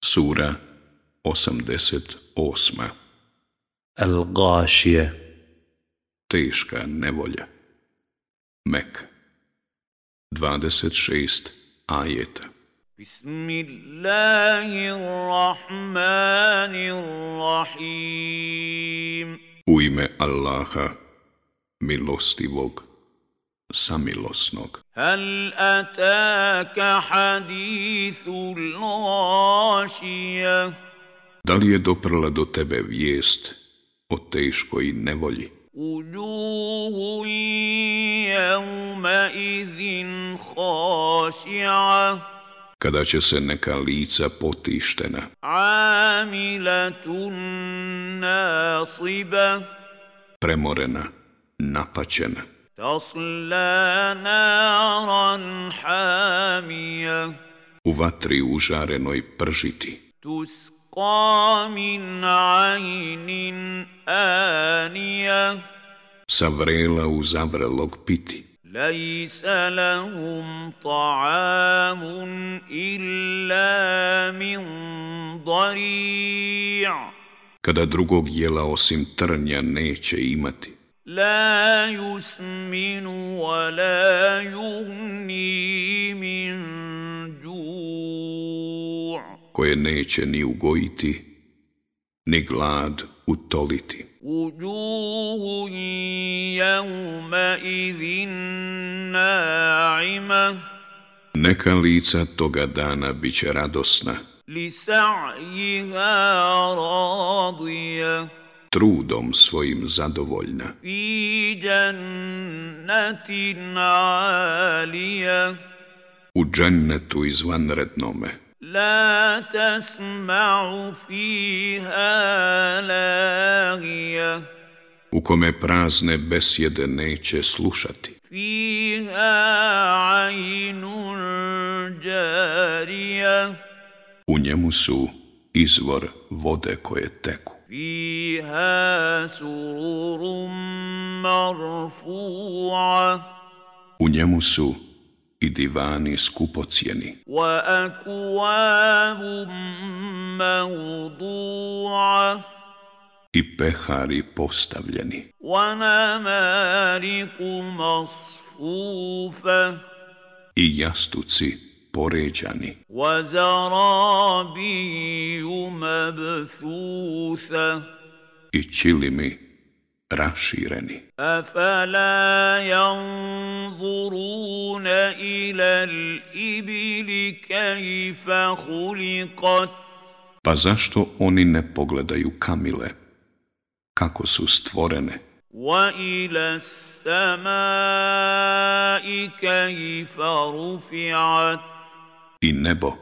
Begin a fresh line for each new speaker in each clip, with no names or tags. Sura 88.
الغاشية
Teška nevolja. Mek. 26 ajeta.
بسم الله الرحمن الرحيم
U ime Allaha, milostivog, samilosnog.
هل أتاك حديث الغاشية
Da li je doprla do tebe vijest o teškoj nevolji?
وجوه يومئذ خاشعة
Kada će se neka lica potištena,
عاملة ناصبة
premorena, napaćena,
تصلى نارا حامية
u vatri užarenoj pržiti,
تسقى من عين آنية
sa vrela u zavrelog piti,
ليس لهم طعام إلا من ضريع
kada drugog jela osim trnja neće imati,
لا يسمن ولا يغني من جوع
koje neće ni ugojiti, ni glad utoliti.
وجوه يومئذ ناعمة
Neka lica toga dana bit će radosna,
لسعيها راضية
trudom svojim zadovoljna,
في جنة عالية
u džennetu izvanrednome,
لا تسمع فيها لاغية
u kome prazne besjede neće slušati.
فيها عين جارية
U njemu su izvor vode koje teku,
فيها سرور مرفوعة
u njemu su i divani skupocijeni,
وأكواب موضوعة
i pehari postavljeni,
ونمارق مصفوفة
i jastuci poređani,
وزرابي مبثوثة
i čilimi rašireni.
أفلا ينظرون إلى الإبل كيف خلقت
Pa zašto oni ne pogledaju kamile? Kako su stvorene?
وإلى السماء كيف رفعت
I nebo?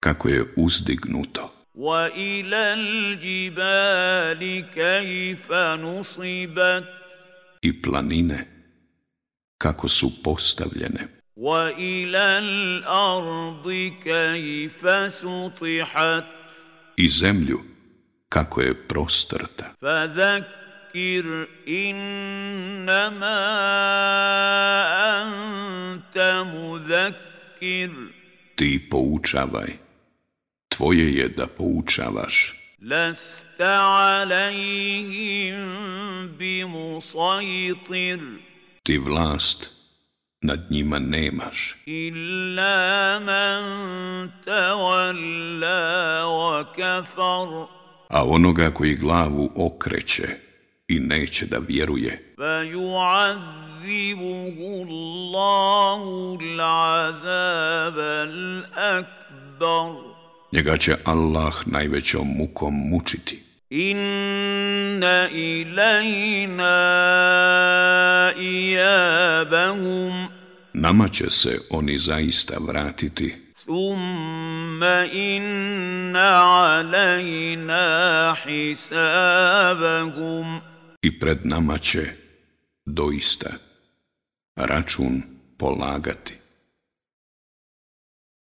Kako je uzdignuto?
وإلى الجبال كيف نصبت
I planine? Kako su postavljene?
وإلى الأرض كيف سطحت
I zemlju? Kako je prostrta?
فذكر إنما أنت مذكر
Ti poučavaj. Tvoje je da poučavaš.
لست عليهم بمسيطر
Ti vlast nad njima nemaš.
إلا من تولى وكفر
A onoga koji glavu okreće i neće da vjeruje,
فيعذبه الله العذاب الأكبر
Njega će Allah najvećom mukom mučiti.
إن إلينا إيابهم
Nama će se oni zaista vratiti,
ثم إن علينا حسابهم
i pred nama će doista račun polagati.